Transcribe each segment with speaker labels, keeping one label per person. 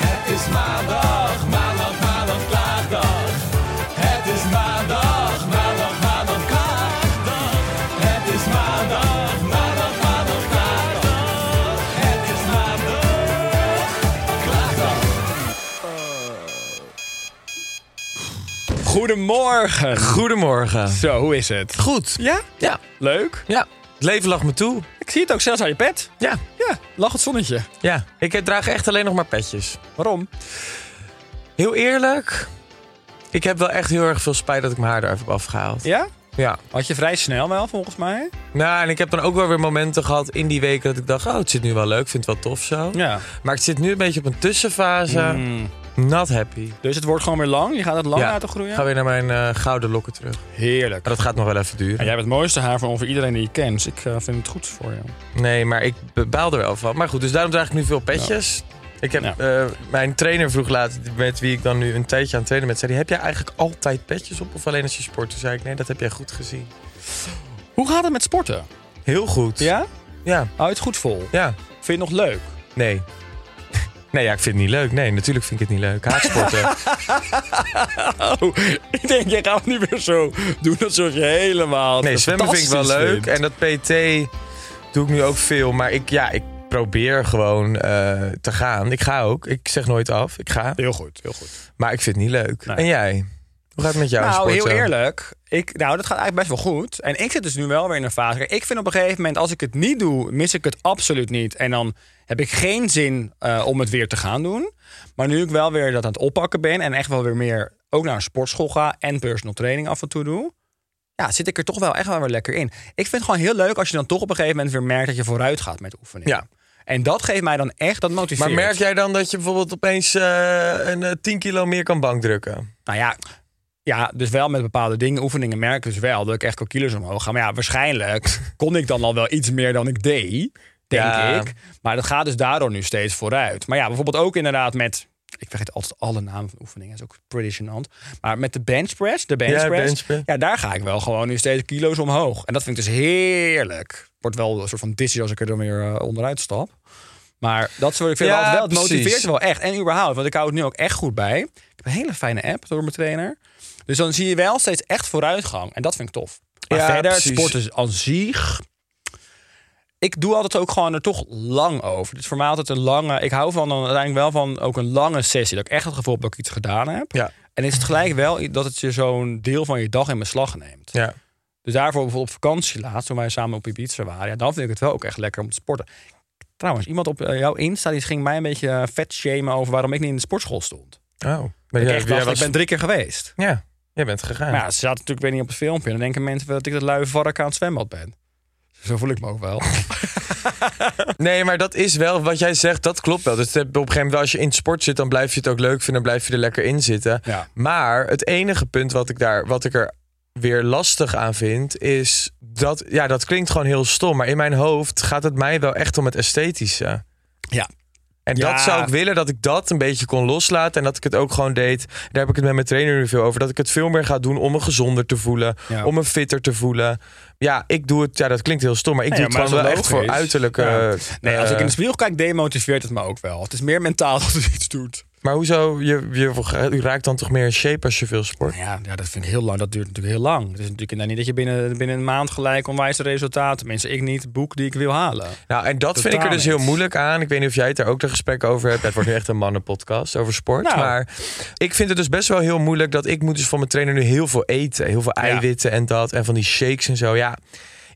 Speaker 1: Het is maandag, maandag, maandag, klaagdag. Het is maandag, maandag, maandag, klaagdag. Het is maandag, maandag, maandag, klaagdag. Het is maandag, klaagdag.
Speaker 2: Goedemorgen.
Speaker 1: Goedemorgen.
Speaker 2: Zo, Oh, hoe is het?
Speaker 1: Goed.
Speaker 2: Ja?
Speaker 1: Ja.
Speaker 2: Leuk.
Speaker 1: Ja. Het leven lag me toe.
Speaker 2: Ik zie het ook zelfs aan je pet.
Speaker 1: Ja.
Speaker 2: Ja, lach het zonnetje.
Speaker 1: Ja. Ik eh, draag echt alleen nog maar petjes.
Speaker 2: Waarom?
Speaker 1: Heel eerlijk. Ik heb wel echt heel erg veel spijt dat ik mijn haar eraf heb afgehaald.
Speaker 2: Ja?
Speaker 1: Ja.
Speaker 2: Had je vrij snel wel, volgens mij.
Speaker 1: Nou, en ik heb dan ook wel weer momenten gehad in die weken dat ik dacht... oh, het zit nu wel leuk, vind het wel tof zo.
Speaker 2: Ja.
Speaker 1: Maar het zit nu een beetje op een tussenfase. Not happy.
Speaker 2: Dus het wordt gewoon weer lang. Je gaat het lang
Speaker 1: Ja.
Speaker 2: laten groeien.
Speaker 1: Ga weer naar mijn eh, gouden lokken terug.
Speaker 2: Heerlijk.
Speaker 1: Maar dat gaat nog wel even duren.
Speaker 2: En jij hebt het mooiste haar van ongeveer iedereen die je kent. Dus ik eh, vind het goed voor jou.
Speaker 1: Nee, maar ik baal er wel van. Maar goed, dus daarom draag ik nu veel petjes. Ik heb,
Speaker 2: Ja.
Speaker 1: eh, mijn trainer vroeg laat, met wie ik dan nu een tijdje aan het trainen ben, zei die, heb jij eigenlijk altijd petjes op of alleen als je sport? Toen zei ik, nee, dat heb jij goed gezien.
Speaker 2: Hoe gaat het met sporten?
Speaker 1: Heel goed.
Speaker 2: Ja?
Speaker 1: Ja.
Speaker 2: Hou je het goed vol?
Speaker 1: Ja.
Speaker 2: Vind je het nog leuk?
Speaker 1: Nee. Nee, ja, ik vind het niet leuk. Nee, natuurlijk vind ik het niet leuk. Haatsporten.
Speaker 2: Oh, ik denk, jij gaat nu weer zo doen alsof je helemaal...
Speaker 1: Nee,
Speaker 2: het
Speaker 1: zwemmen vind ik wel
Speaker 2: fantastisch
Speaker 1: leuk.
Speaker 2: vindt.
Speaker 1: En dat PT doe ik nu ook veel. Maar ik, ja, ik probeer gewoon eh, te gaan. Ik ga ook. Ik zeg nooit af. Ik ga.
Speaker 2: Heel goed, heel goed.
Speaker 1: Maar ik vind het niet leuk.
Speaker 2: Nee.
Speaker 1: En jij? Hoe gaat het met jou
Speaker 2: nou,
Speaker 1: sporten?
Speaker 2: heel eerlijk. Ik, nou, dat gaat eigenlijk best wel goed. En ik zit dus nu wel weer in een fase. Kijk, ik vind op een gegeven moment, als ik het niet doe, mis ik het absoluut niet. En dan heb ik geen zin eh, om het weer te gaan doen. Maar nu ik wel weer dat aan het oppakken ben en echt wel weer meer ook naar een sportschool ga en personal training af en toe doe. Ja, zit ik er toch wel echt wel weer lekker in. Ik vind het gewoon heel leuk als je dan toch op een gegeven moment weer merkt dat je vooruit gaat met oefeningen.
Speaker 1: Ja.
Speaker 2: En dat geeft mij dan echt, dat motiveert.
Speaker 1: Maar merk jij dan dat je bijvoorbeeld opeens eh, een eh, 10 kilo meer kan bankdrukken?
Speaker 2: Nou ja, ja, dus wel met bepaalde dingen, oefeningen merk ik dus wel dat ik echt wel kilo's omhoog ga. Maar ja, waarschijnlijk kon ik dan al wel iets meer dan ik deed, denk
Speaker 1: Ja.
Speaker 2: ik. Maar dat gaat dus daardoor nu steeds vooruit. Maar ja, bijvoorbeeld ook inderdaad met, ik vergeet altijd alle namen van oefeningen, dat is ook pretty gênant. Maar met de bench press, de bench,
Speaker 1: Ja,
Speaker 2: press,
Speaker 1: bench press.
Speaker 2: ja, daar ga ik wel gewoon nu steeds kilo's omhoog. En dat vind ik dus heerlijk. Wordt wel een soort van dizzy als ik er dan weer eh, onderuit stap. Maar dat is wat ik vind
Speaker 1: Ja,
Speaker 2: altijd wel. Het
Speaker 1: precies.
Speaker 2: motiveert wel echt. En überhaupt, want ik hou het nu ook echt goed bij. Ik heb een hele fijne app door mijn trainer. Dus dan zie je wel steeds echt vooruitgang. En dat vind ik tof. Maar
Speaker 1: Ja,
Speaker 2: verder,
Speaker 1: precies.
Speaker 2: sport is aan zich. Ik doe altijd ook gewoon er toch lang over. Dus voor mij altijd een lange... Ik hou van dan uiteindelijk wel van ook een lange sessie. Dat ik echt het gevoel heb dat ik iets gedaan heb.
Speaker 1: Ja.
Speaker 2: En is het gelijk wel dat het je zo'n deel van je dag in beslag neemt.
Speaker 1: Ja.
Speaker 2: Dus daarvoor bijvoorbeeld op vakantie laatst, toen wij samen op Ibiza waren, ja, dan vind ik het wel ook echt lekker om te sporten. Trouwens, iemand op eh, jouw Insta die ging mij een beetje eh, vet shamen over waarom ik niet in de sportschool stond.
Speaker 1: Oh.
Speaker 2: Dat
Speaker 1: Maar
Speaker 2: ik
Speaker 1: jij,
Speaker 2: echt
Speaker 1: jij
Speaker 2: dacht,
Speaker 1: was-
Speaker 2: ik ben drie keer geweest.
Speaker 1: Ja, jij bent gegaan.
Speaker 2: Maar ja, ze zaten natuurlijk weer niet op het filmpje. En dan denken mensen wel dat ik dat luie vark aan het zwembad ben. Zo voel ik me ook wel.
Speaker 1: Nee, maar dat is wel wat jij zegt, dat klopt wel. Dus op een gegeven moment, wel, als je in het sport zit, dan blijf je het ook leuk vinden, dan blijf je er lekker in zitten.
Speaker 2: Ja.
Speaker 1: Maar het enige punt wat ik, daar, wat ik er weer lastig aan vind, is dat, ja, dat klinkt gewoon heel stom, maar in mijn hoofd gaat het mij wel echt om het esthetische.
Speaker 2: Ja.
Speaker 1: En
Speaker 2: Ja.
Speaker 1: dat zou ik willen, dat ik dat een beetje kon loslaten. En dat ik het ook gewoon deed. Daar heb ik het met mijn trainer nu veel over. Dat ik het veel meer ga doen om me gezonder te voelen.
Speaker 2: Ja.
Speaker 1: Om me fitter te voelen. Ja, ik doe het. Ja, dat klinkt heel stom. Maar ik
Speaker 2: Nee,
Speaker 1: doe het
Speaker 2: maar
Speaker 1: gewoon wel
Speaker 2: dat is
Speaker 1: echt voor
Speaker 2: logisch.
Speaker 1: uiterlijke.
Speaker 2: Ja. Nee, als ik in de
Speaker 1: eh,
Speaker 2: spiegel kijk, demotiveert het me ook wel. Het is meer mentaal dat het iets doet.
Speaker 1: Maar hoezo? Je, je, u raakt dan toch meer in shape als je veel sport?
Speaker 2: Nou Ja, ja, dat vind ik heel lang. Dat duurt natuurlijk heel lang. Het is natuurlijk inderdaad niet dat je binnen, binnen een maand gelijk onwijze resultaten. Mensen, ik niet, het boek die ik wil halen.
Speaker 1: Nou, en dat vind ik er
Speaker 2: Totaal
Speaker 1: dus heel
Speaker 2: niet.
Speaker 1: moeilijk aan. Ik weet niet of jij het daar ook de gesprekken over hebt. Het wordt nu echt een mannenpodcast over sport.
Speaker 2: Nou.
Speaker 1: Maar ik vind het dus best wel heel moeilijk dat ik moet dus van mijn trainer nu heel veel eten. Heel veel eiwitten en dat. En van die shakes en zo. Ja,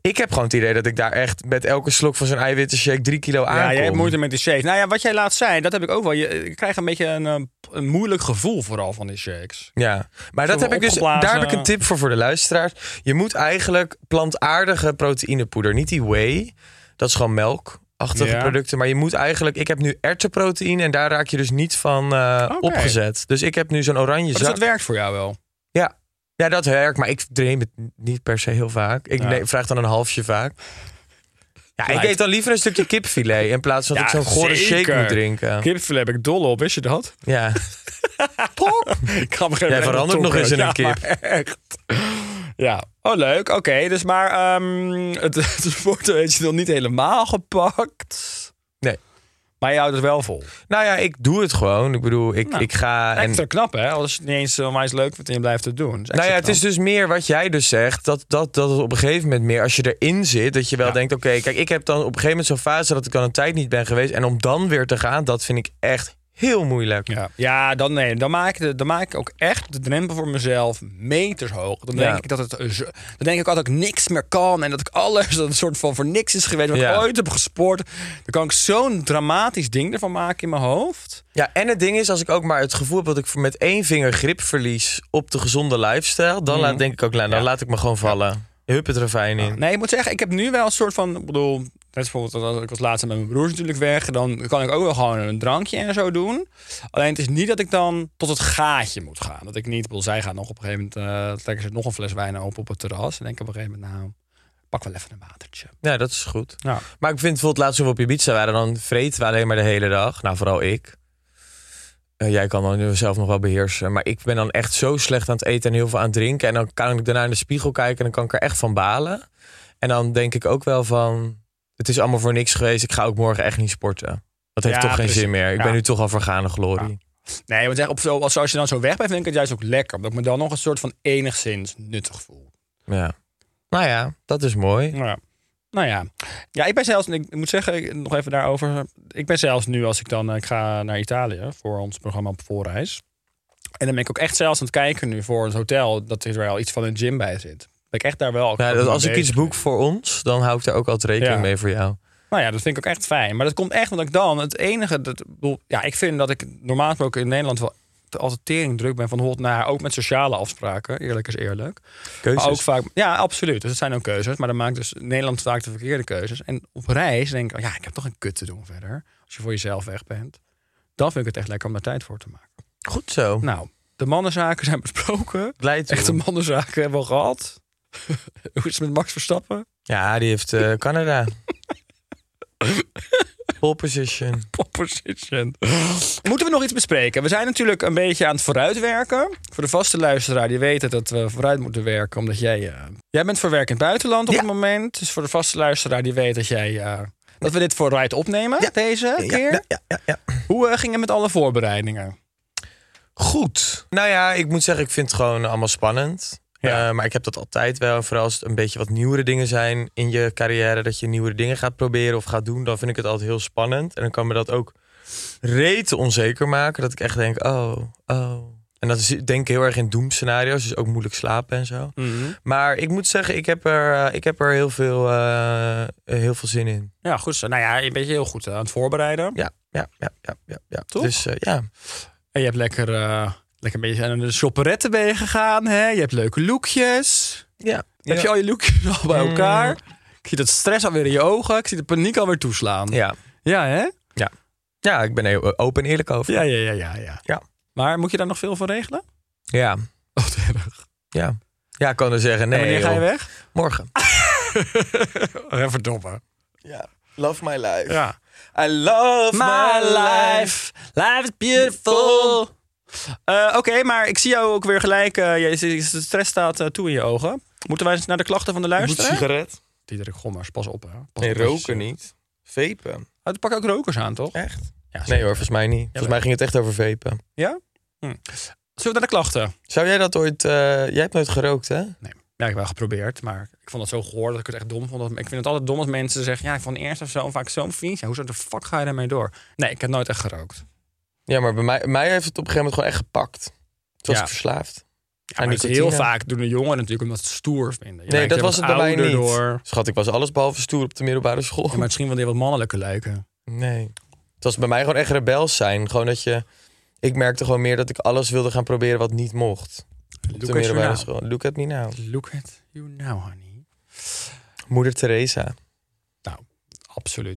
Speaker 1: Ik heb gewoon het idee dat ik daar echt met elke slok van zo'n eiwitten shake drie kilo aan.
Speaker 2: Ja, jij hebt moeite met die shakes. Nou ja, wat jij laat zijn, dat heb ik ook wel. Je, ik krijg een beetje een, eh, een moeilijk gevoel vooral van die shakes.
Speaker 1: Ja, maar dat
Speaker 2: Zo
Speaker 1: heb ik dus,
Speaker 2: opgeblazen.
Speaker 1: daar heb ik een tip voor voor de luisteraars. Je moet eigenlijk plantaardige proteïnepoeder, niet die whey, dat is gewoon melkachtige
Speaker 2: Ja.
Speaker 1: producten. Maar je moet eigenlijk, ik heb nu erwtenproteïne en daar raak je dus niet van eh,
Speaker 2: Oké.
Speaker 1: opgezet. Dus ik heb nu zo'n oranje
Speaker 2: Dus dat
Speaker 1: zak.
Speaker 2: werkt voor jou wel.
Speaker 1: Ja. ja, dat werkt, maar ik neem het niet per se heel vaak. Ik
Speaker 2: Ja.
Speaker 1: neem- vraag dan een halfje vaak. Ja, ik
Speaker 2: Lijkt.
Speaker 1: eet dan liever een stukje kipfilet in plaats van dat
Speaker 2: Ja,
Speaker 1: ik zo'n gore shake
Speaker 2: zeker.
Speaker 1: moet drinken.
Speaker 2: Kipfilet heb ik dol op, wist je dat?
Speaker 1: Ja,
Speaker 2: ik kan me geen
Speaker 1: Jij
Speaker 2: reden
Speaker 1: verandert nog
Speaker 2: toppen.
Speaker 1: eens in
Speaker 2: Ja,
Speaker 1: een kip.
Speaker 2: maar Echt. Ja, oh leuk. Oké, dus maar ehm, het, het wordt weet je nog niet helemaal gepakt.
Speaker 1: nee.
Speaker 2: Maar je houdt het wel vol.
Speaker 1: Nou ja, ik doe het gewoon. Ik bedoel, ik,
Speaker 2: Nou,
Speaker 1: ik ga... En,
Speaker 2: Extra knap hè, als je het niet eens uh, eens leuk vindt en je blijft het doen.
Speaker 1: Nou ja, het is dus meer wat jij dus zegt. Dat, dat, dat het op een gegeven moment meer, als je erin zit, dat je wel denkt: oké, kijk, ik heb dan op een gegeven moment zo'n fase dat ik al een tijd niet ben geweest. En om dan weer te gaan, dat vind ik echt heel moeilijk.
Speaker 2: Ja, ja dan, nee, dan, maak ik de, dan maak ik ook echt de drempel voor mezelf meters hoog. Dan denk
Speaker 1: Ja.
Speaker 2: ik dat het eh, zo- dan denk ik altijd dat ik niks meer kan en dat ik alles dat het soort van voor niks is geweest wat
Speaker 1: Ja.
Speaker 2: ik ooit heb gesport. Dan kan ik zo'n dramatisch ding ervan maken in mijn hoofd.
Speaker 1: Ja, en het ding is, als ik ook maar het gevoel heb dat ik met één vinger grip verlies op de gezonde lifestyle, dan laat, denk ik ook, nou, dan laat ik me gewoon vallen. Hup het ravijn in.
Speaker 2: Nee, ik moet zeggen, ik heb nu wel een soort van, ik bedoel, net als bijvoorbeeld als ik als laatste met mijn broers natuurlijk weg, dan kan ik ook wel gewoon een drankje en zo doen. Alleen het is niet dat ik dan tot het gaatje moet gaan. Dat ik niet, ik bedoel, zij gaan nog op een gegeven moment, eh trekken ze nog een fles wijn open op het terras en denk op een gegeven moment, nou, pak wel even een watertje.
Speaker 1: Ja, dat is goed.
Speaker 2: Ja.
Speaker 1: Maar ik vind bijvoorbeeld laatst toen we op Ibiza waren, dan vreten we alleen maar de hele dag. Nou, vooral ik. Eh, jij kan dan zelf nog wel beheersen. Maar ik ben dan echt zo slecht aan het eten en heel veel aan het drinken. En dan kan ik daarna in de spiegel kijken en dan kan ik er echt van balen. En dan denk ik ook wel van, het is allemaal voor niks geweest. Ik ga ook morgen echt niet sporten. Dat heeft
Speaker 2: Ja,
Speaker 1: toch geen
Speaker 2: precies.
Speaker 1: zin meer. Ik
Speaker 2: Ja.
Speaker 1: ben nu toch al vergane glorie.
Speaker 2: Nee, want zeg, op zo, als als je dan zo weg bent, vind ik het juist ook lekker. Omdat ik me dan nog een soort van enigszins nuttig voel.
Speaker 1: Ja. Nou ja, dat is mooi.
Speaker 2: Nou ja. Nou ja. ja, ik ben zelfs, ik moet zeggen, ik- nog even daarover. Ik ben zelfs nu, als ik dan, eh, ik ga naar Italië voor ons programma op voorreis. En dan ben ik ook echt zelfs aan het kijken nu voor het hotel, dat er wel iets van een gym bij zit. Ben ik echt daar wel.
Speaker 1: Ja, dat als ik
Speaker 2: bezig
Speaker 1: iets boek voor ons, dan hou ik daar ook altijd rekening
Speaker 2: Ja.
Speaker 1: mee voor jou.
Speaker 2: Nou ja, dat vind ik ook echt fijn. Maar dat komt echt omdat ik dan het enige... Dat, ik bedoel, ja, ik vind dat ik normaal gesproken in Nederland wel te- altijd tering druk ben van hot naar haar. Ook met sociale afspraken, eerlijk is eerlijk.
Speaker 1: Keuzes.
Speaker 2: Maar ook vaak, ja, absoluut. Dus het zijn ook keuzes. Maar dan maakt dus Nederland vaak de verkeerde keuzes. En op reis denk ik, oh ja, ik heb toch een kut te doen verder. Als je voor jezelf weg bent. Dan vind ik het echt lekker om daar tijd voor te maken.
Speaker 1: Goed zo.
Speaker 2: Nou, de mannenzaken zijn besproken.
Speaker 1: Blij toe.
Speaker 2: Echte mannenzaken hebben we al gehad. Hoe is het met Max Verstappen?
Speaker 1: Ja, die heeft eh, Canada. Pole position.
Speaker 2: Proposition. Moeten we nog iets bespreken? We zijn natuurlijk een beetje aan het vooruitwerken. Voor de vaste luisteraar, die weten dat we vooruit moeten werken. Omdat jij... eh, jij bent voor werk in het buitenland op
Speaker 1: Ja.
Speaker 2: het moment. Dus voor de vaste luisteraar, die weet dat jij... eh, dat we dit vooruit opnemen, deze keer. Hoe eh, ging het met alle voorbereidingen?
Speaker 1: Goed. Nou ja, ik moet zeggen, ik vind het gewoon allemaal spannend.
Speaker 2: Ja.
Speaker 1: Eh, maar ik heb dat altijd wel. Vooral als het een beetje wat nieuwere dingen zijn in je carrière. Dat je nieuwere dingen gaat proberen of gaat doen. Dan vind ik het altijd heel spannend. En dan kan me dat ook reet onzeker maken. Dat ik echt denk, oh, oh. En dat is, denk ik heel erg in doemscenario's. Dus ook moeilijk slapen en zo.
Speaker 2: Mm.
Speaker 1: Maar ik moet zeggen, ik heb er, eh, ik heb er heel, veel, eh, heel veel zin in.
Speaker 2: Ja, goed zo. Nou ja, je bent je heel goed eh, aan het voorbereiden.
Speaker 1: Ja, ja, ja, ja, ja. ja.
Speaker 2: Toch?
Speaker 1: Dus eh, ja.
Speaker 2: En je hebt lekker, eh, lekker een beetje aan de shopperette ben je gegaan. Hè? Je hebt leuke lookjes.
Speaker 1: ja.
Speaker 2: Heb je al je lookjes al bij elkaar? Ik zie dat stress alweer in je ogen. Ik zie de paniek alweer toeslaan.
Speaker 1: Ja.
Speaker 2: Ja, hè?
Speaker 1: ja. Ja, ik ben er heel open en eerlijk over.
Speaker 2: Ja, ja, ja, ja, ja.
Speaker 1: Ja.
Speaker 2: Maar moet je daar nog veel voor regelen?
Speaker 1: Ja.
Speaker 2: Oh, wat erg.
Speaker 1: Ja, ja ik kan er zeggen, nee.
Speaker 2: en wanneer ga je
Speaker 1: joh.
Speaker 2: weg?
Speaker 1: Morgen.
Speaker 2: Even verdomme.
Speaker 1: Ja. Love my life.
Speaker 2: Ja.
Speaker 1: I love
Speaker 2: My life. Life is beautiful. Eh, Oké, maar ik zie jou ook weer gelijk. eh, je- je- je- de stress staat eh, toe in je ogen. Moeten wij eens naar de klachten van de luisteraar?
Speaker 1: sigaret.
Speaker 2: Diederik Gommers, pas op. Hè. Pas
Speaker 1: Nee,
Speaker 2: op als je-
Speaker 1: roken niet. Vapen.
Speaker 2: Oh, er pakken ook rokers aan, toch?
Speaker 1: Echt?
Speaker 2: Ja,
Speaker 1: Nee hoor, volgens mij niet. Volgens mij ging het echt over vapen.
Speaker 2: Ja? Hm. Zullen we naar de klachten?
Speaker 1: Zou jij dat ooit... eh, jij hebt nooit gerookt, hè?
Speaker 2: Nee. Ja, ik heb wel geprobeerd, maar ik vond het zo gehoord dat ik het echt dom vond. Dat- Ik vind het altijd dom als mensen zeggen, ja, ik vond eerst of zo vaak zo'n vies. Ja, hoezo de fuck ga je daarmee door? Nee, ik heb nooit echt gerookt.
Speaker 1: Ja, maar bij mij, mij heeft het op een gegeven moment gewoon echt gepakt. Toen was
Speaker 2: Ja.
Speaker 1: ik verslaafd.
Speaker 2: Ja, maar
Speaker 1: aan
Speaker 2: dat is heel
Speaker 1: nicotine.
Speaker 2: vaak doen de jongeren natuurlijk omdat ze het stoer vinden.
Speaker 1: Nee,
Speaker 2: Je lijkt
Speaker 1: dat
Speaker 2: er
Speaker 1: was
Speaker 2: wat
Speaker 1: het bij mij
Speaker 2: ouder
Speaker 1: niet.
Speaker 2: Door.
Speaker 1: Schat, ik was alles behalve stoer op de middelbare school.
Speaker 2: Ja, maar misschien wel die wat mannelijke lijken.
Speaker 1: Nee. Het was bij mij gewoon echt rebels zijn. Gewoon dat je... Ik merkte gewoon meer dat ik alles wilde gaan proberen wat niet mocht. Op de
Speaker 2: Look at you
Speaker 1: middelbare
Speaker 2: now.
Speaker 1: school. Look at me now.
Speaker 2: Look at you now, honey.
Speaker 1: Moeder Teresa.
Speaker 2: Nou, absoluut.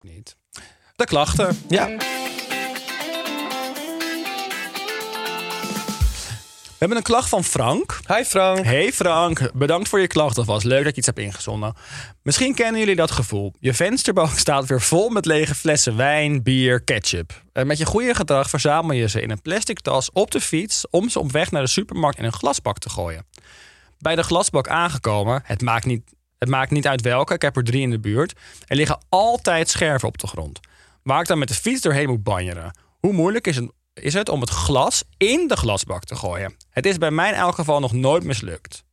Speaker 2: Niet. De klachten.
Speaker 1: Ja.
Speaker 2: We hebben een klacht van Frank.
Speaker 1: Hi Frank.
Speaker 2: Hey Frank, bedankt voor je klacht alvast. Leuk dat je iets hebt ingezonden. Misschien kennen jullie dat gevoel. Je vensterbank staat weer vol met lege flessen wijn, bier, ketchup. En met je goede gedrag verzamel je ze in een plastic tas op de fiets... om ze op weg naar de supermarkt in een glasbak te gooien. Bij de glasbak aangekomen, het maakt niet, het maakt niet uit welke, ik heb er drie in de buurt... er liggen altijd scherven op de grond. Waar ik dan met de fiets doorheen moet banjeren. Hoe moeilijk is het, is het om het glas in de glasbak te gooien? Het is bij mij in elk geval nog nooit mislukt.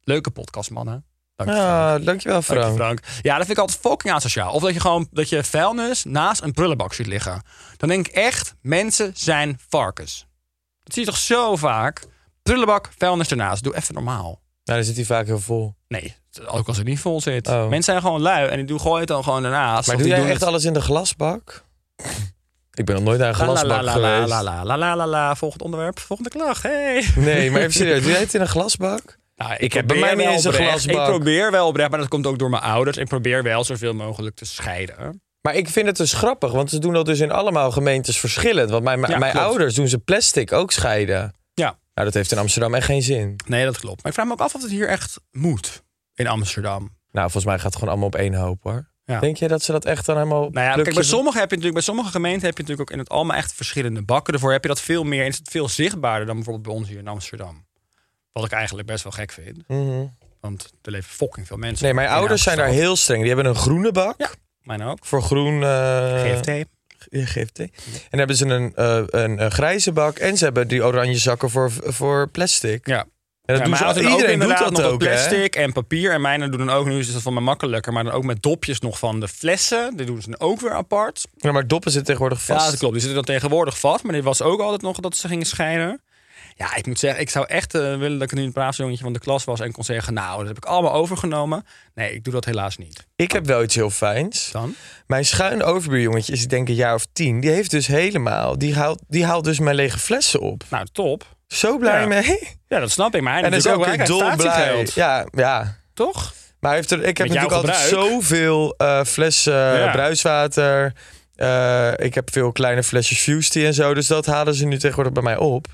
Speaker 2: Leuke podcast, mannen. Dank je, Frank.
Speaker 1: Ah, dankjewel
Speaker 2: Dank je,
Speaker 1: Frank.
Speaker 2: Frank. Ja, dat vind ik altijd fucking asociaal. Of dat je gewoon dat je vuilnis naast een prullenbak ziet liggen. Dan denk ik echt, mensen zijn varkens. Dat zie je toch zo vaak? Prullenbak, vuilnis ernaast. Doe even normaal.
Speaker 1: Nou, dan zit hij vaak heel vol.
Speaker 2: Nee, ook als het niet vol zit.
Speaker 1: Oh.
Speaker 2: Mensen zijn gewoon lui en die doen gooi het dan gewoon ernaast.
Speaker 1: Maar
Speaker 2: Of
Speaker 1: doe
Speaker 2: die
Speaker 1: jij
Speaker 2: doen
Speaker 1: echt
Speaker 2: het- Hm.
Speaker 1: alles in de glasbak? ik ben nog nooit naar een
Speaker 2: La,
Speaker 1: glasbak
Speaker 2: la, la, la,
Speaker 1: geweest.
Speaker 2: la, la, la, la, la, la. Volgend onderwerp, volgende klacht. Hey.
Speaker 1: Nee, maar even serieus. Doe jij het in een glasbak?
Speaker 2: Nou, ik,
Speaker 1: Ik heb
Speaker 2: probeer
Speaker 1: bij mij niet
Speaker 2: wel
Speaker 1: eens een
Speaker 2: oprecht-
Speaker 1: glasbak.
Speaker 2: Ik probeer wel oprecht, maar dat komt ook door mijn ouders. Ik probeer wel zoveel mogelijk te scheiden.
Speaker 1: Maar ik vind het dus grappig, want ze doen dat dus in allemaal gemeentes verschillend. Want mijn,
Speaker 2: Ja,
Speaker 1: mijn
Speaker 2: klopt.
Speaker 1: ouders doen ze plastic ook scheiden.
Speaker 2: Ja,
Speaker 1: Nou, dat heeft in Amsterdam echt geen zin.
Speaker 2: nee, dat klopt. Maar ik vraag me ook af of het hier echt moet in Amsterdam.
Speaker 1: Nou, volgens mij gaat het gewoon allemaal op één hoop hoor.
Speaker 2: Ja.
Speaker 1: Denk je dat ze dat echt dan helemaal...
Speaker 2: Nou ja, kijk, bij
Speaker 1: plukjes-
Speaker 2: sommige, heb je natuurlijk, bij sommige gemeenten heb je natuurlijk ook in het allemaal echt verschillende bakken. Daarvoor heb je dat veel meer en is het veel zichtbaarder dan bijvoorbeeld bij ons hier in Amsterdam. Wat ik eigenlijk best wel gek vind.
Speaker 1: Mhm.
Speaker 2: Want er leven fucking veel mensen.
Speaker 1: Nee, mijn
Speaker 2: in
Speaker 1: ouders zijn daar
Speaker 2: Amsterdam.
Speaker 1: heel streng. Die hebben een groene bak
Speaker 2: Ja. Mijn ook.
Speaker 1: voor groen... eh,
Speaker 2: GFT.
Speaker 1: Ja, GFT. En dan hebben ze een, eh, een, eh, grijze bak en ze hebben die oranje zakken voor, voor plastic.
Speaker 2: Ja.
Speaker 1: En dat
Speaker 2: ja,
Speaker 1: doen ze,
Speaker 2: mijn ouders
Speaker 1: iedereen doet
Speaker 2: inderdaad
Speaker 1: dat
Speaker 2: nog
Speaker 1: ook,
Speaker 2: met
Speaker 1: hè?
Speaker 2: plastic en papier. En mijne doen dan ook, nu is dat van mij makkelijker, maar dan ook met dopjes nog van de flessen. Die doen ze dan ook weer apart.
Speaker 1: Ja, maar doppen zitten tegenwoordig
Speaker 2: Ja,
Speaker 1: vast.
Speaker 2: dat klopt. Die zitten dan tegenwoordig vast, maar dit was ook altijd nog dat ze gingen scheiden. Ja, ik moet zeggen, ik zou echt eh, willen dat ik nu een braaf jongetje van de klas was en kon zeggen, nou, dat heb ik allemaal overgenomen. Nee, ik doe dat helaas niet.
Speaker 1: Ik heb wel iets heel fijns.
Speaker 2: Dan?
Speaker 1: Mijn schuin overbuurjongetje is ik denk een jaar of tien. Die heeft dus helemaal... Die haalt, die haalt dus mijn lege flessen op.
Speaker 2: Nou, top.
Speaker 1: Zo blij
Speaker 2: Ja.
Speaker 1: mee.
Speaker 2: Ja, dat snap ik. Maar hij
Speaker 1: En is
Speaker 2: natuurlijk
Speaker 1: ook
Speaker 2: hij
Speaker 1: weer
Speaker 2: krijgt
Speaker 1: dolblij.
Speaker 2: statiegeld.
Speaker 1: Ja, ja.
Speaker 2: Toch?
Speaker 1: Maar hij heeft er, ik heb
Speaker 2: Met jouw
Speaker 1: natuurlijk altijd
Speaker 2: gebruik.
Speaker 1: zoveel eh, flessen
Speaker 2: Ja.
Speaker 1: bruiswater. Eh, ik heb veel kleine flesjes Fusty en zo. Dus dat halen ze nu tegenwoordig bij mij op.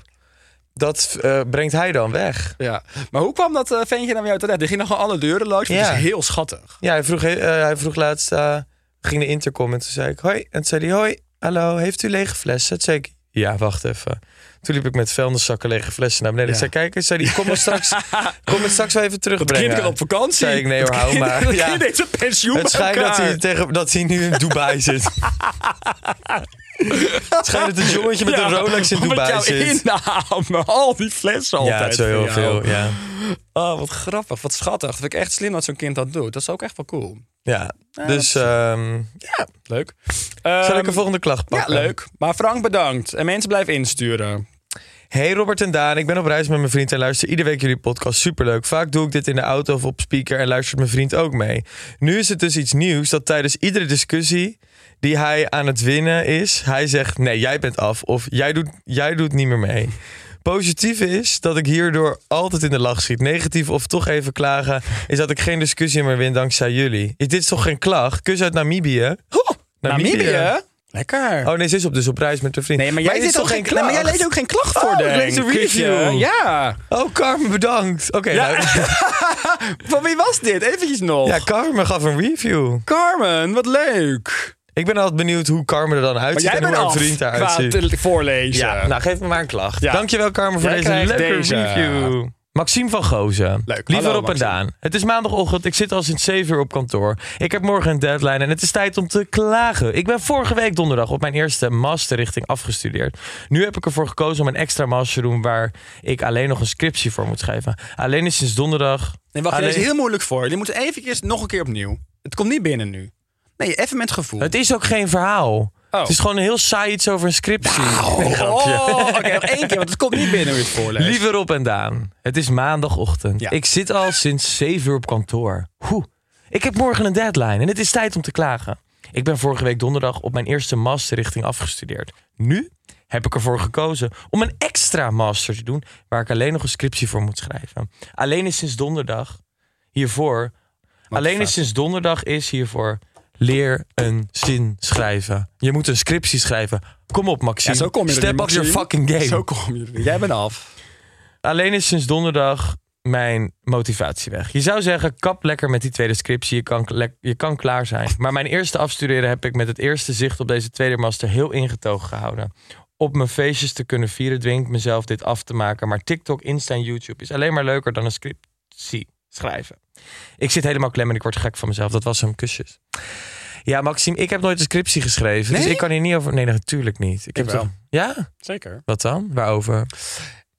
Speaker 1: Dat eh, brengt hij dan weg.
Speaker 2: Ja. Maar hoe kwam dat eh, ventje dan weer uit? Die ging nog gewoon alle deuren langs. maar
Speaker 1: Ja.
Speaker 2: Dat is heel schattig.
Speaker 1: Ja, hij vroeg, eh, hij vroeg laatst... eh, ging de intercom en toen zei ik hoi. En toen zei hij hoi, hallo, heeft u lege flessen? Toen zei ik ja, wacht even. Toen liep ik met vuilniszakken lege flessen naar beneden.
Speaker 2: Ja.
Speaker 1: Ik zei kijk, eens." zei hij kom maar straks, kom het straks wel even
Speaker 2: Het
Speaker 1: terugbrengen.
Speaker 2: kind kan op vakantie.
Speaker 1: Zei ik, nee hoor,
Speaker 2: Het
Speaker 1: hou
Speaker 2: kind-
Speaker 1: maar.
Speaker 2: Het
Speaker 1: Ja.
Speaker 2: kind heeft een pensioen
Speaker 1: Het
Speaker 2: bij
Speaker 1: schijnt dat
Speaker 2: elkaar.
Speaker 1: hij, tegen, dat hij nu in Dubai zit. Het schijnt dat het jongetje met
Speaker 2: Ja,
Speaker 1: een Rolex in
Speaker 2: met
Speaker 1: Dubai
Speaker 2: jouw
Speaker 1: zit.
Speaker 2: inname, al die flessen altijd.
Speaker 1: Ja, zo heel
Speaker 2: van jou.
Speaker 1: veel. Ja.
Speaker 2: Oh, wat grappig, wat schattig. Dat vind ik echt slim dat zo'n kind dat doet. Dat is ook echt wel cool.
Speaker 1: ja. Dus ehm ja.
Speaker 2: Leuk.
Speaker 1: zal ik
Speaker 2: Ehm,
Speaker 1: een volgende klacht
Speaker 2: Ja,
Speaker 1: pakken?
Speaker 2: leuk. Maar Frank, bedankt. En mensen blijven insturen.
Speaker 1: Hey Robert en Daan, ik ben op reis met mijn vriend en luister iedere week jullie podcast. Superleuk. Vaak doe ik dit in de auto of op speaker en luistert mijn vriend ook mee. Nu is het dus iets nieuws dat tijdens iedere discussie die hij aan het winnen is, hij zegt nee, jij bent af of jij doet, jij doet niet meer mee. Positief is dat ik hierdoor altijd in de lach schiet. Negatief of toch even klagen is dat ik geen discussie meer win dankzij jullie. Is dit toch geen klacht? Kus uit Namibië.
Speaker 2: Oh, Namibië. Lekker.
Speaker 1: Oh nee, ze is op, dus op reis met een vriend.
Speaker 2: Nee, maar jij,
Speaker 1: dit is
Speaker 2: deed
Speaker 1: toch
Speaker 2: ook
Speaker 1: geen
Speaker 2: Nee,
Speaker 1: klacht?
Speaker 2: maar jij leest ook geen klacht voor,
Speaker 1: Oh, ik
Speaker 2: denk
Speaker 1: lees een
Speaker 2: Kutje.
Speaker 1: review.
Speaker 2: Ja.
Speaker 1: Oh, Carmen, bedankt. Oké, nou-
Speaker 2: Van wie was dit? Eventjes nog.
Speaker 1: Ja, Carmen gaf een review.
Speaker 2: Carmen, wat leuk.
Speaker 1: Ik ben altijd benieuwd hoe Carmen er dan
Speaker 2: Maar
Speaker 1: uitziet
Speaker 2: jij
Speaker 1: en hoe
Speaker 2: bent
Speaker 1: haar
Speaker 2: af
Speaker 1: vriend
Speaker 2: qua
Speaker 1: eruit ziet.
Speaker 2: te- voorlezen.
Speaker 1: Ja, nou geef me maar een klacht.
Speaker 2: Ja.
Speaker 1: Dankjewel Carmen voor
Speaker 2: Jij
Speaker 1: deze
Speaker 2: krijgt
Speaker 1: leuke
Speaker 2: deze.
Speaker 1: review. Maxime van Gozen.
Speaker 2: Leuk.
Speaker 1: Lieve
Speaker 2: Hallo,
Speaker 1: Rob en
Speaker 2: Maxime.
Speaker 1: Daan. Het is maandagochtend. Ik zit al sinds 7 uur op kantoor. Ik heb morgen een deadline en het is tijd om te klagen. Ik ben vorige week donderdag op mijn eerste masterrichting afgestudeerd. Nu heb ik ervoor gekozen om een extra master te doen waar ik alleen nog een scriptie voor moet schrijven. Alleen is sinds donderdag.
Speaker 2: Nee, wacht,
Speaker 1: alleen-
Speaker 2: deze is heel moeilijk voor. Je moet eventjes nog een keer opnieuw. Het komt niet binnen nu. Nee, even met gevoel.
Speaker 1: Het is ook geen verhaal.
Speaker 2: Oh.
Speaker 1: Het is gewoon een heel saai iets over een scriptie. Nee, grapje.
Speaker 2: Oh, oké, nog één keer, want het komt niet binnen hoe je het voorleest.
Speaker 1: Lieve Rob en Daan, het is maandagochtend.
Speaker 2: Ja.
Speaker 1: Ik zit al sinds 7 uur op kantoor. Hoe? Ik heb morgen een deadline en het is tijd om te klagen. Ik ben vorige week donderdag op mijn eerste masterrichting afgestudeerd. Nu heb ik ervoor gekozen om een extra master te doen waar ik alleen nog een scriptie voor moet schrijven. Alleen is sinds donderdag hiervoor. alleen
Speaker 2: fuck.
Speaker 1: is sinds donderdag is hiervoor. Leer een zin schrijven. Je moet een scriptie schrijven. Kom op, Maxime.
Speaker 2: Ja, zo kom je er
Speaker 1: Step
Speaker 2: niet,
Speaker 1: up your
Speaker 2: Maxime.
Speaker 1: fucking game.
Speaker 2: Zo kom je er niet. Jij bent af.
Speaker 1: Alleen is sinds donderdag mijn motivatie weg. Je zou zeggen, kap lekker met die tweede scriptie. Je kan, klek- je kan klaar zijn. Maar mijn eerste afstuderen heb ik met het eerste zicht op deze tweede master heel ingetogen gehouden. Op mijn feestjes te kunnen vieren dwing ik mezelf dit af te maken. Maar TikTok, Insta en YouTube is alleen maar leuker dan een scriptie schrijven. Ik zit helemaal klem en ik word gek van mezelf. Dat was hem, kusjes. Ja, Maxime, ik heb nooit een scriptie geschreven. Dus
Speaker 2: Nee?
Speaker 1: ik kan hier niet over... Nee, natuurlijk niet. Ik heb
Speaker 2: Jawel.
Speaker 1: toch- Ja?
Speaker 2: Zeker.
Speaker 1: Wat dan? Waarover?